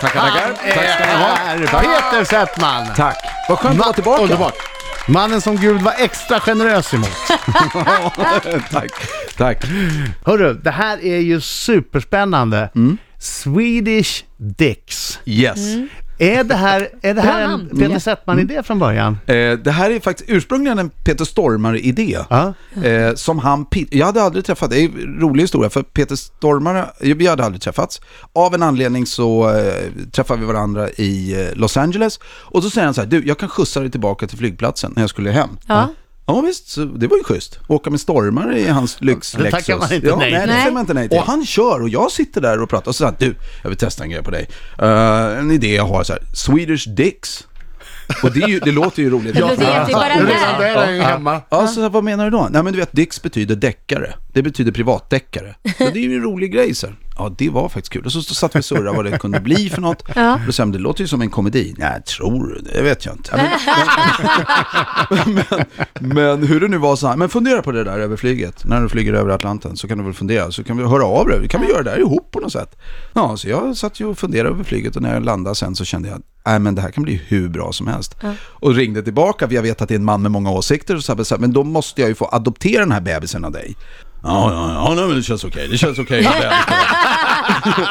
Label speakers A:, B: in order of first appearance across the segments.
A: Tackar, tackar. Tack ska ni ha.
B: är Peter Settman!
A: Tack. Vad skönt att vara tillbaka.
B: Underbart! Mannen som Gud var extra generös emot.
A: tack, tack.
B: Hörru, det här är ju superspännande.
A: Mm.
B: Swedish Dicks.
A: Yes.
B: Är det här, är det här
C: Bra
B: en
C: namn.
B: Peter Settman-idé från början?
A: Eh, det här är faktiskt ursprungligen en Peter Stormare-idé.
B: Ja.
A: Eh, som han, pi- jag hade aldrig träffat, det är en rolig historia, för Peter Stormare, eh, vi hade aldrig träffats. Av en anledning så eh, träffade vi varandra i eh, Los Angeles. Och så säger han så här, du, jag kan skjutsa dig tillbaka till flygplatsen när jag skulle hem.
C: Ja.
A: Ja visst, så det var ju schysst. Åka med stormare i hans lyx
B: Det tackar man inte
A: ja,
B: nej
A: nej,
B: till.
A: det säger
C: Nej.
A: man inte nej till. Och han kör och jag sitter där och pratar och så säger han, du, jag vill testa en grej på dig. Eh, en idé jag har så här, Swedish Dicks. Och det, är ju, det låter ju roligt.
C: Det låter
A: Ja.
C: jätte- bara
B: Redan där
C: där.
B: är han ju hemma.
A: Ja, så vad menar du då? Nej, men du vet, Dix betyder deckare. Det betyder privatdeckare. Ja, det är ju en rolig grej, så här. Ja, det var faktiskt kul. Och så satt vi och surrade vad det kunde bli för något. Och då sa jag, det låter ju som en komedi. Nej, tror du? Det vet jag inte. Ja, Men, men, men, men hur det nu var så här, men fundera på det där över flyget. När du flyger över Atlanten så kan du väl fundera. Så kan vi höra av dig. Kan vi göra det här ihop på något sätt? Ja, så jag satt ju och funderade över flyget och när jag landade sen så kände jag, nej men det här kan bli hur bra som helst. Och ringde tillbaka, för jag vet att det är en man med många åsikter, och så här, så här, men då måste jag ju få adoptera den här bebisen av dig. Ja, ja, ja, nej, men det känns okej, det känns okej. med bebisen."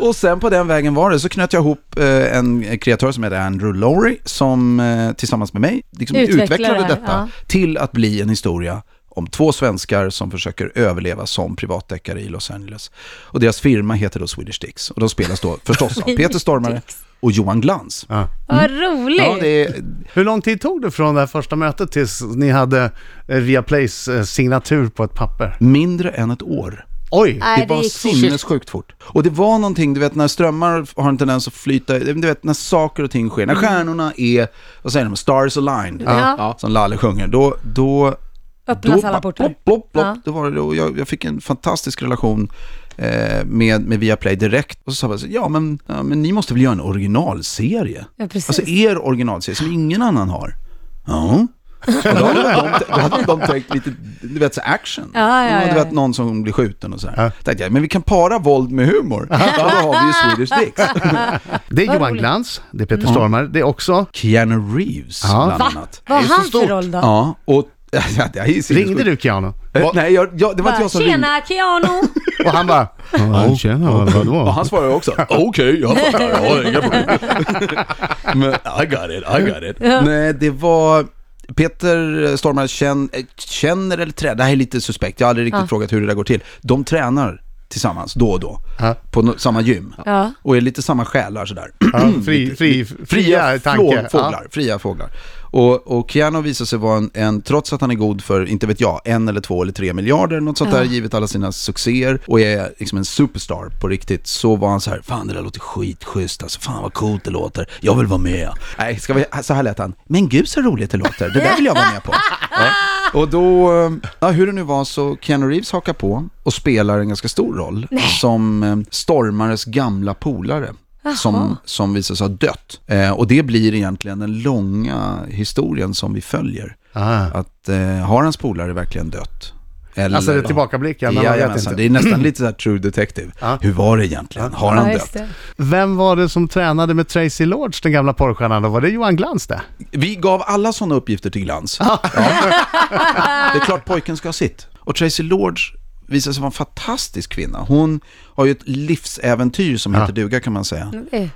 A: och sen på den vägen var det, så knöt jag ihop eh, en kreatör som heter Andrew Lowry, som eh, tillsammans med mig liksom
C: Utvecklade,
A: utvecklade detta
C: ja.
A: till att bli en historia om två svenskar som försöker överleva som privatdeckare i Los Angeles. Och deras firma heter då Swedish Dicks och de spelas då förstås av Peter Stormare och Johan Glans.
B: Ja.
C: Vad roligt!
A: Ja, det är,
B: Hur lång tid tog det från det här första mötet tills ni hade eh, Viaplays eh, signatur på ett papper?
A: mindre än ett år.
B: Oj!
C: Nej,
A: Det var
C: gick fort.
A: sinnessjukt fort. Och det var någonting, du vet när strömmar har en tendens att flyta, du vet när saker och ting sker, när stjärnorna är, vad säger de, stars aligned,
C: Mm. Ja.
A: som Lalle sjunger, då, då
C: Öppnas
A: då,
C: alla
A: bara
C: portar.
A: Plopp, plopp, plopp,
C: Ja.
A: då var det, och jag, jag fick en fantastisk relation eh, med, med Viaplay direkt. Och så sa jag, så, ja men, ja men ni måste väl göra en originalserie?
C: Ja, precis.
A: Alltså er originalserie som ingen annan har. Ja. Och då hade de, då hade de tänkt lite, du vet, så action.
C: Ja, ja,
A: Och
C: ja,
A: Du vet,
C: ja.
A: någon som blir skjuten och sådär. Tänkte jag, men vi kan para våld med humor. Då har vi ju Swedish Dicks.
B: Det är
C: Vad
B: Johan
C: roligt.
B: Glans, det är
A: Mm.
B: Peter Stormare, det är också...
A: Keanu Reeves,
B: Ja.
A: bland
B: Va?
A: annat.
C: Vad
B: Det
C: har
B: är så
C: han för
B: stort.
C: roll då?
A: Ja, och... Ja, det här är ju sinnessjukt.
B: Ringde du Keanu?
A: Eh, Nej, jag, jag, det var inte
C: Bara,
A: jag som ringde.
C: Tjena Keanu!
B: Och han bara... "Ja, Tjena,
A: Och
B: vadå?
A: han svarar också, okej, jag fattar, jag har inga problem. Men I got it, I got it. Nej, det var Peter Stormare känn, eh, känner eller tränar, det här är lite suspekt, jag har aldrig riktigt frågat hur det där går till. De tränar tillsammans då och då,
B: Ja.
A: på no- samma gym.
C: Ja.
A: Och är lite samma själar sådär.
B: Ja, fri, fri,
A: Fria
B: fria tanke.
A: flå- fåglar. Fria fåglar. Och, och Keanu visar sig vara en, en, trots att han är god för, inte vet jag, en eller två eller tre miljarder, något sånt där, givet alla sina succéer, och är liksom en superstar på riktigt, så var han så här, fan det där låter skitschysst, alltså, fan vad coolt det låter, jag vill vara med. Nej, ska vi, så här lät han, men gud så roligt det låter, det där vill jag vara med på. Ja. Och då, eh, ja, hur det nu var så Keanu Reeves hakar på och spelar en ganska stor roll som eh, stormares gamla polare. Som, som visar sig ha dött. Eh, och det blir egentligen den långa historien som vi följer.
B: Ah.
A: Att eh, har hans polare verkligen dött? Eller,
B: Alltså det är tillbakablicken, men man vet
A: Jajamensan,
B: inte.
A: det är nästan lite så här true detective.
B: Ja.
A: Hur var det egentligen? Har han
C: Ja, just
A: dött?
C: det.
B: Vem var det som tränade med Tracy Lords, den gamla porrstjärnan då? Var det Johan Glans det?
A: Vi gav alla sådana uppgifter till Glans. Ja. Det är klart pojken ska ha sitt. Och Tracy Lords visar sig vara en fantastisk kvinna. Hon har ju ett livsäventyr som heter duga kan man säga. Ah,
C: Det är-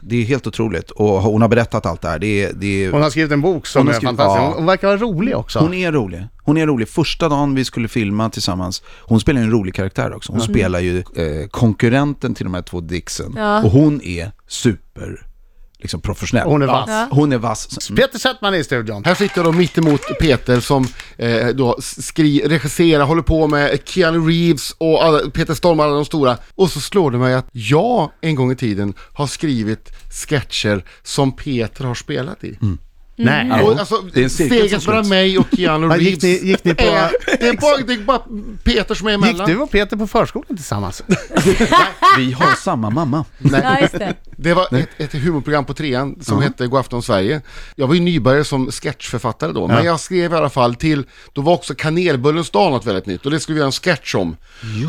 A: Det är helt otroligt och hon har berättat allt det här. Det är, det är...
B: Hon har skrivit en bok som
A: Hon har
B: är
A: skrivit-
B: fantastisk.
A: ja.
B: Hon verkar vara rolig också.
A: Hon är rolig. Hon är rolig. Första dagen vi skulle filma tillsammans, hon spelar ju en rolig karaktär också. Hon spelar ju eh, konkurrenten till de här två Dixon.
C: Ja.
A: Och hon är super, liksom professionell.
B: Hon är vass.
C: Ja.
A: Hon är vass.
B: Peter Settman är i studion.
D: Här sitter de mitt emot Peter som eh, då skri- regisserar, håller på med Keanu Reeves och alla, Peter Stormare, alla de stora. Och så slår det mig att jag en gång i tiden har skrivit sketcher som Peter har spelat i.
B: Nej.
D: Och, alltså,
A: Mm. det är en cirkel som
D: steget mellan
A: sluts.
D: mig och Keanu
B: Ja,
D: Reeves
B: gick ni- gick ni på-
D: är, det, är bara, det är bara Peter som är
B: Gick
D: emellan.
B: du och Peter på förskolan tillsammans?
A: Vi har samma mamma.
C: Ja, just det.
D: Det var ett, ett humorprogram på trean som hette God afton Sverige. Jag var ju nybörjare som sketchförfattare då, men jag skrev i alla fall till, då var också kanelbullens dag något väldigt nytt och det skulle vi göra en sketch om.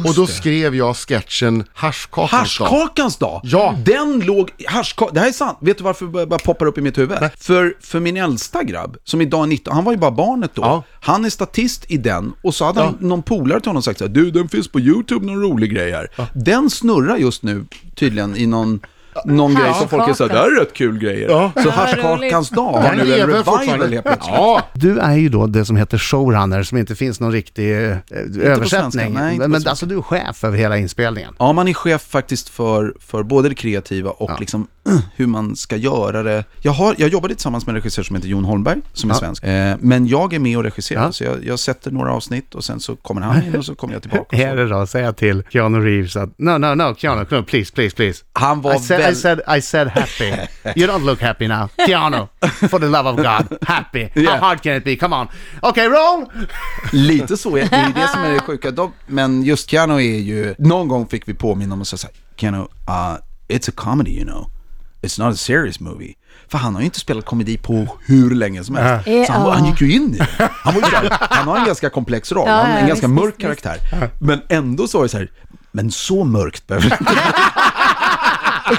D: och då skrev jag sketchen Haschkakans dag.
A: Haschkakans dag!
D: Ja.
A: Den låg... Haschka- det här är sant. Vet du varför det bara poppar upp i mitt huvud? För, för min äldsta grabb, som idag är 19, han var ju bara barnet då.
D: Ja.
A: Han är statist i den och så hade han någon polare till honom sagt så här, du den finns på YouTube, någon rolig grej här. Den snurrar just nu tydligen i någon... Någon grej som folk är såhär, det här är rätt kul grejer. Så
C: Ja,
A: haschkakans
C: roligt.
A: dag har
D: Den
A: nu en
D: lever
A: revival
D: fortfarande.
A: helt plötsligt.
D: Ja,
B: Du är ju då det som heter showrunner, som inte finns någon riktig eh, översättning.
A: svenska, nej, inte på
B: men
A: svenska.
B: alltså du är chef över hela inspelningen.
A: Ja, man är chef faktiskt för, för både det kreativa och liksom, hur man ska göra det. Jag, har, jag jobbade tillsammans med en regissör som heter Jon Holmberg, som är
B: Ja.
A: svensk. Eh, men jag är med och regisserar,
B: Ja.
A: så jag, jag sätter några avsnitt och sen så kommer han in och så kommer jag tillbaka.
B: Här
A: Och så.
B: är då, säga till Keanu Reeves att no, no, no, Keanu, come on, please, please, please.
A: Han var
B: I said,
A: väl-
B: I said, I said happy. you don't look happy now. Keanu, for the love of God, happy.
A: Yeah.
B: How hard can it be? Come on. Okay, roll!
A: Lite så, är, det är ju det som är det sjuka. De, men just Keanu är ju, någon gång fick vi påminna om att säga så här, Keanu, uh, it's a comedy you know. It's not a serious movie. För han har ju inte spelat komedi på hur länge som helst.
C: Eh, Ja.
A: Så han, var- han gick ju in i det. Han, var ju där, han har en ganska komplex roll,
C: Ja,
A: han är en
C: ja,
A: ganska
C: visst,
A: mörk
C: visst,
A: karaktär. Men ändå så var det så här, men så mörkt behöver det inte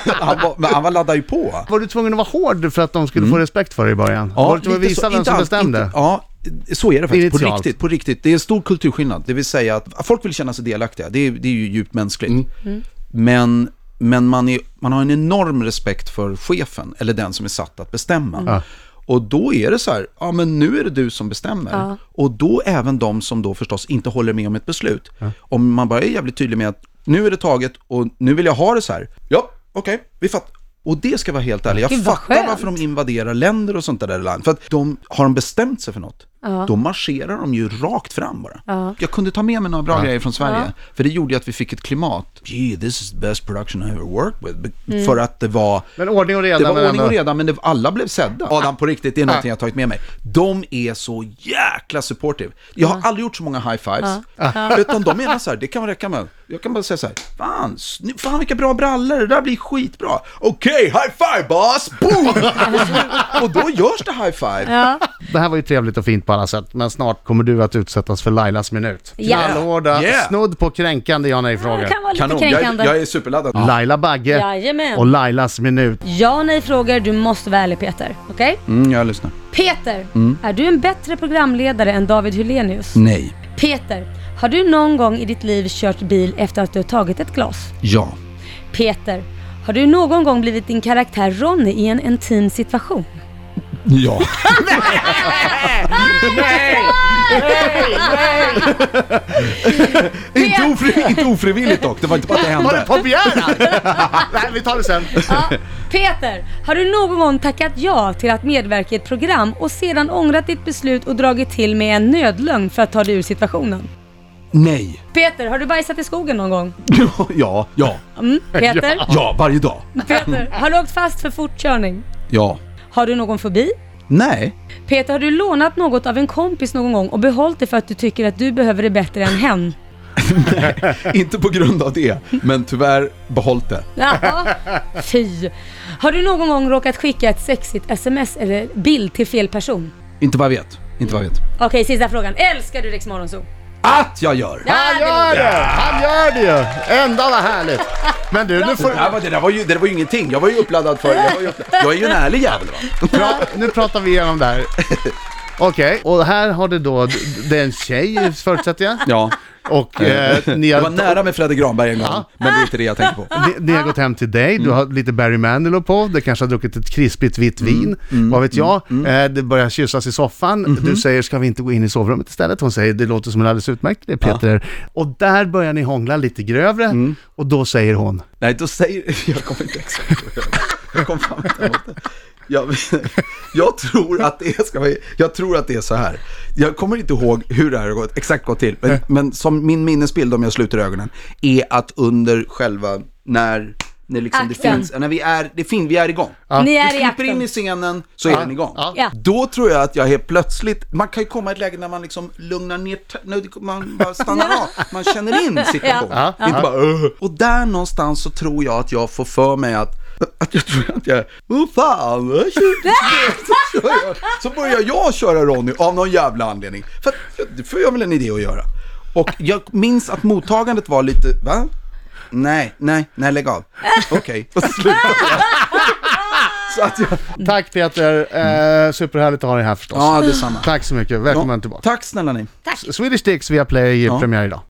A: vara." han var, men han var laddad ju på.
B: Var du tvungen att vara hård för att de skulle få respekt för dig i början? var du tvungen att
A: Mm. lite
B: visa
A: så.
B: vem
A: Inte
B: som
A: allt-
B: bestämde?
A: Inte, ja, så är det faktiskt. På
B: Initialt.
A: riktigt, på riktigt. Det är en stor kulturskillnad. Det vill säga att folk vill känna sig delaktiga. Det är, det är ju djupt mänskligt.
B: Mm.
C: Mm.
A: Men, men man, är, man har en enorm respekt för chefen, eller den som är satt att bestämma.
B: Mm.
A: Och då är det så här, ja men nu är det du som bestämmer. Och då även de som då förstås inte håller med om ett beslut. Om man bara är jävligt tydlig med att nu är det taget och nu vill jag ha det så här. Ja, okej, vi fattar. Och det ska vara helt ärligt, jag
C: Gud, vad
A: fattar
C: skönt.
A: varför de invaderar länder och sånt där i land. För att de, har de bestämt sig för något, då marscherar de ju rakt fram bara. Jag kunde ta med mig några bra grejer från Sverige, för det gjorde ju att vi fick ett klimat. Gee, this is the best production I ever worked with. Be- För att det var...
B: Men ordning och reda.
A: Det var
B: men
A: ordning och
B: ändå-
A: reda, men det, alla blev sedda. Ah. Adam, på riktigt, det är någonting jag har tagit med mig. De är så jäkla supportive. Jag
C: Ah.
A: har aldrig gjort så många Ah. high-fives. Utan de menar så här, det kan räcka med. Jag kan bara säga så här, fan, sny- fan vilka bra brallor, det där blir skitbra. Okej, high-five boss! Boom! och, så, och då görs det high-five.
B: Det här var ju trevligt och fint på alla sätt, men snart kommer du att utsättas för Lailas minut.
C: Ja.
B: Knallhårda,
A: Yeah.
B: snudd på kränkande ja
C: Det
B: nej-frågor.
C: kan vara lite
A: Kanon, jag,
C: kränkande.
A: jag är superladdad.
B: Laila Bagge
C: Jajamän.
B: och Lailas minut.
C: Ja och nej frågor, du måste vara ärlig Peter. Okej?
A: Mm, jag lyssnar.
C: Peter,
A: Mm.
C: är du en bättre programledare än David Hellenius?
A: Nej,
C: Peter, har du någon gång i ditt liv kört bil efter att du har tagit ett glas?
A: ja,
C: Peter, har du någon gång blivit din karaktär Ronny i en intim situation?
A: ja. inte, ofri, inte ofrivilligt dock, det var inte bara att det
B: Var det
A: hände.
B: på begäran? Nej, vi tar det sen.
C: Ja. Peter, har du någon gång tackat ja till att medverka i ett program och sedan ångrat ditt beslut och dragit till med en nödlögn för att ta dig ur situationen?
A: Nej.
C: Peter, har du bajsat i skogen någon gång?
A: Ja, ja,
C: Mm, Peter?
A: ja, varje dag.
C: Peter, har du åkt fast för fortkörning?
A: Ja.
C: Har du någon fobi?
A: Nej.
C: Peter, har du lånat något av en kompis någon gång och behållit det för att du tycker att du behöver det bättre än hen?
A: Inte på grund av det, men tyvärr behållt det.
C: Jaha, fy. Har du någon gång råkat skicka ett sexigt sms eller bild till fel person?
A: Inte vad jag vet. Inte vad jag vet.
C: Okej, sista frågan. Älskar du Rix Morgonzoo?
A: Att jag gör!
C: Ja,
B: Han
C: det låter-
B: gör det! Han gör det ju! Ändå vad härligt. Men du, nu,
A: Det
B: får,
A: där, var, det, där var ju, det där var ju ingenting. Jag var ju uppladdad för det. Jag, var ju uppladdad. jag är ju en ärlig jävel va?
B: pra, nu pratar vi igenom det här. Okej, och här har du då, det är en tjej förutsätter jag.
A: Ja.
B: Och eh, ni,
A: Det var
B: har,
A: nära med Fredrik Granberg en gång, men det är inte det jag tänker på.
B: ni, ni har gått hem till dig,
A: Mm.
B: du har lite Barry Manilow på, du kanske har druckit ett krispigt vitt vin,
A: Mm.
B: vad vet jag. Eh, det börjar kyssas i soffan,
A: Mm-hmm.
B: du säger ska vi inte gå in i sovrummet istället? Hon säger det låter som en alldeles utmärkt idé Peter. Och där börjar ni hångla lite grövre
A: Mm.
B: och då säger hon,
A: Nej, då säger... Jag kommer inte exakt ihåg. Jag kommer fram inte ihåg det. Jag, jag, tror att det är, ska vi, jag tror att det är så här. Jag kommer inte ihåg hur det här har gått, exakt gått till. Men, men som min minnesbild, om jag sluter ögonen, är att under själva, när, när liksom det
C: Akten.
A: finns, när vi är, det fin, vi är igång.
C: Ni är
A: vi
C: i
A: klipper in
C: akten.
A: i scenen, så är den igång.
C: Ja.
A: Då tror jag att jag helt plötsligt, man kan ju komma i ett läge när man liksom lugnar ner, t- nu- man bara stannar av, man känner in situationen.
B: Ja.
A: Inte bara, "Ugh." och där någonstans så tror jag att jag får för mig att att jag tror att jag, oh fan, jag kör, så, kör jag, så börjar jag köra Ronny av någon jävla anledning. För att, det får jag väl en idé att göra. Och jag minns att mottagandet var lite, va? Nej, nej, nej lägg av. Okej, och så slutade jag. Så att jag,
B: Tack Peter, eh, superhärligt att ha dig här förstås.
A: ja detsamma.
B: Tack så mycket, välkommen tillbaka.
A: Tack snälla ni.
B: Swedish Dicks via Play
A: Ja.
B: premiär idag.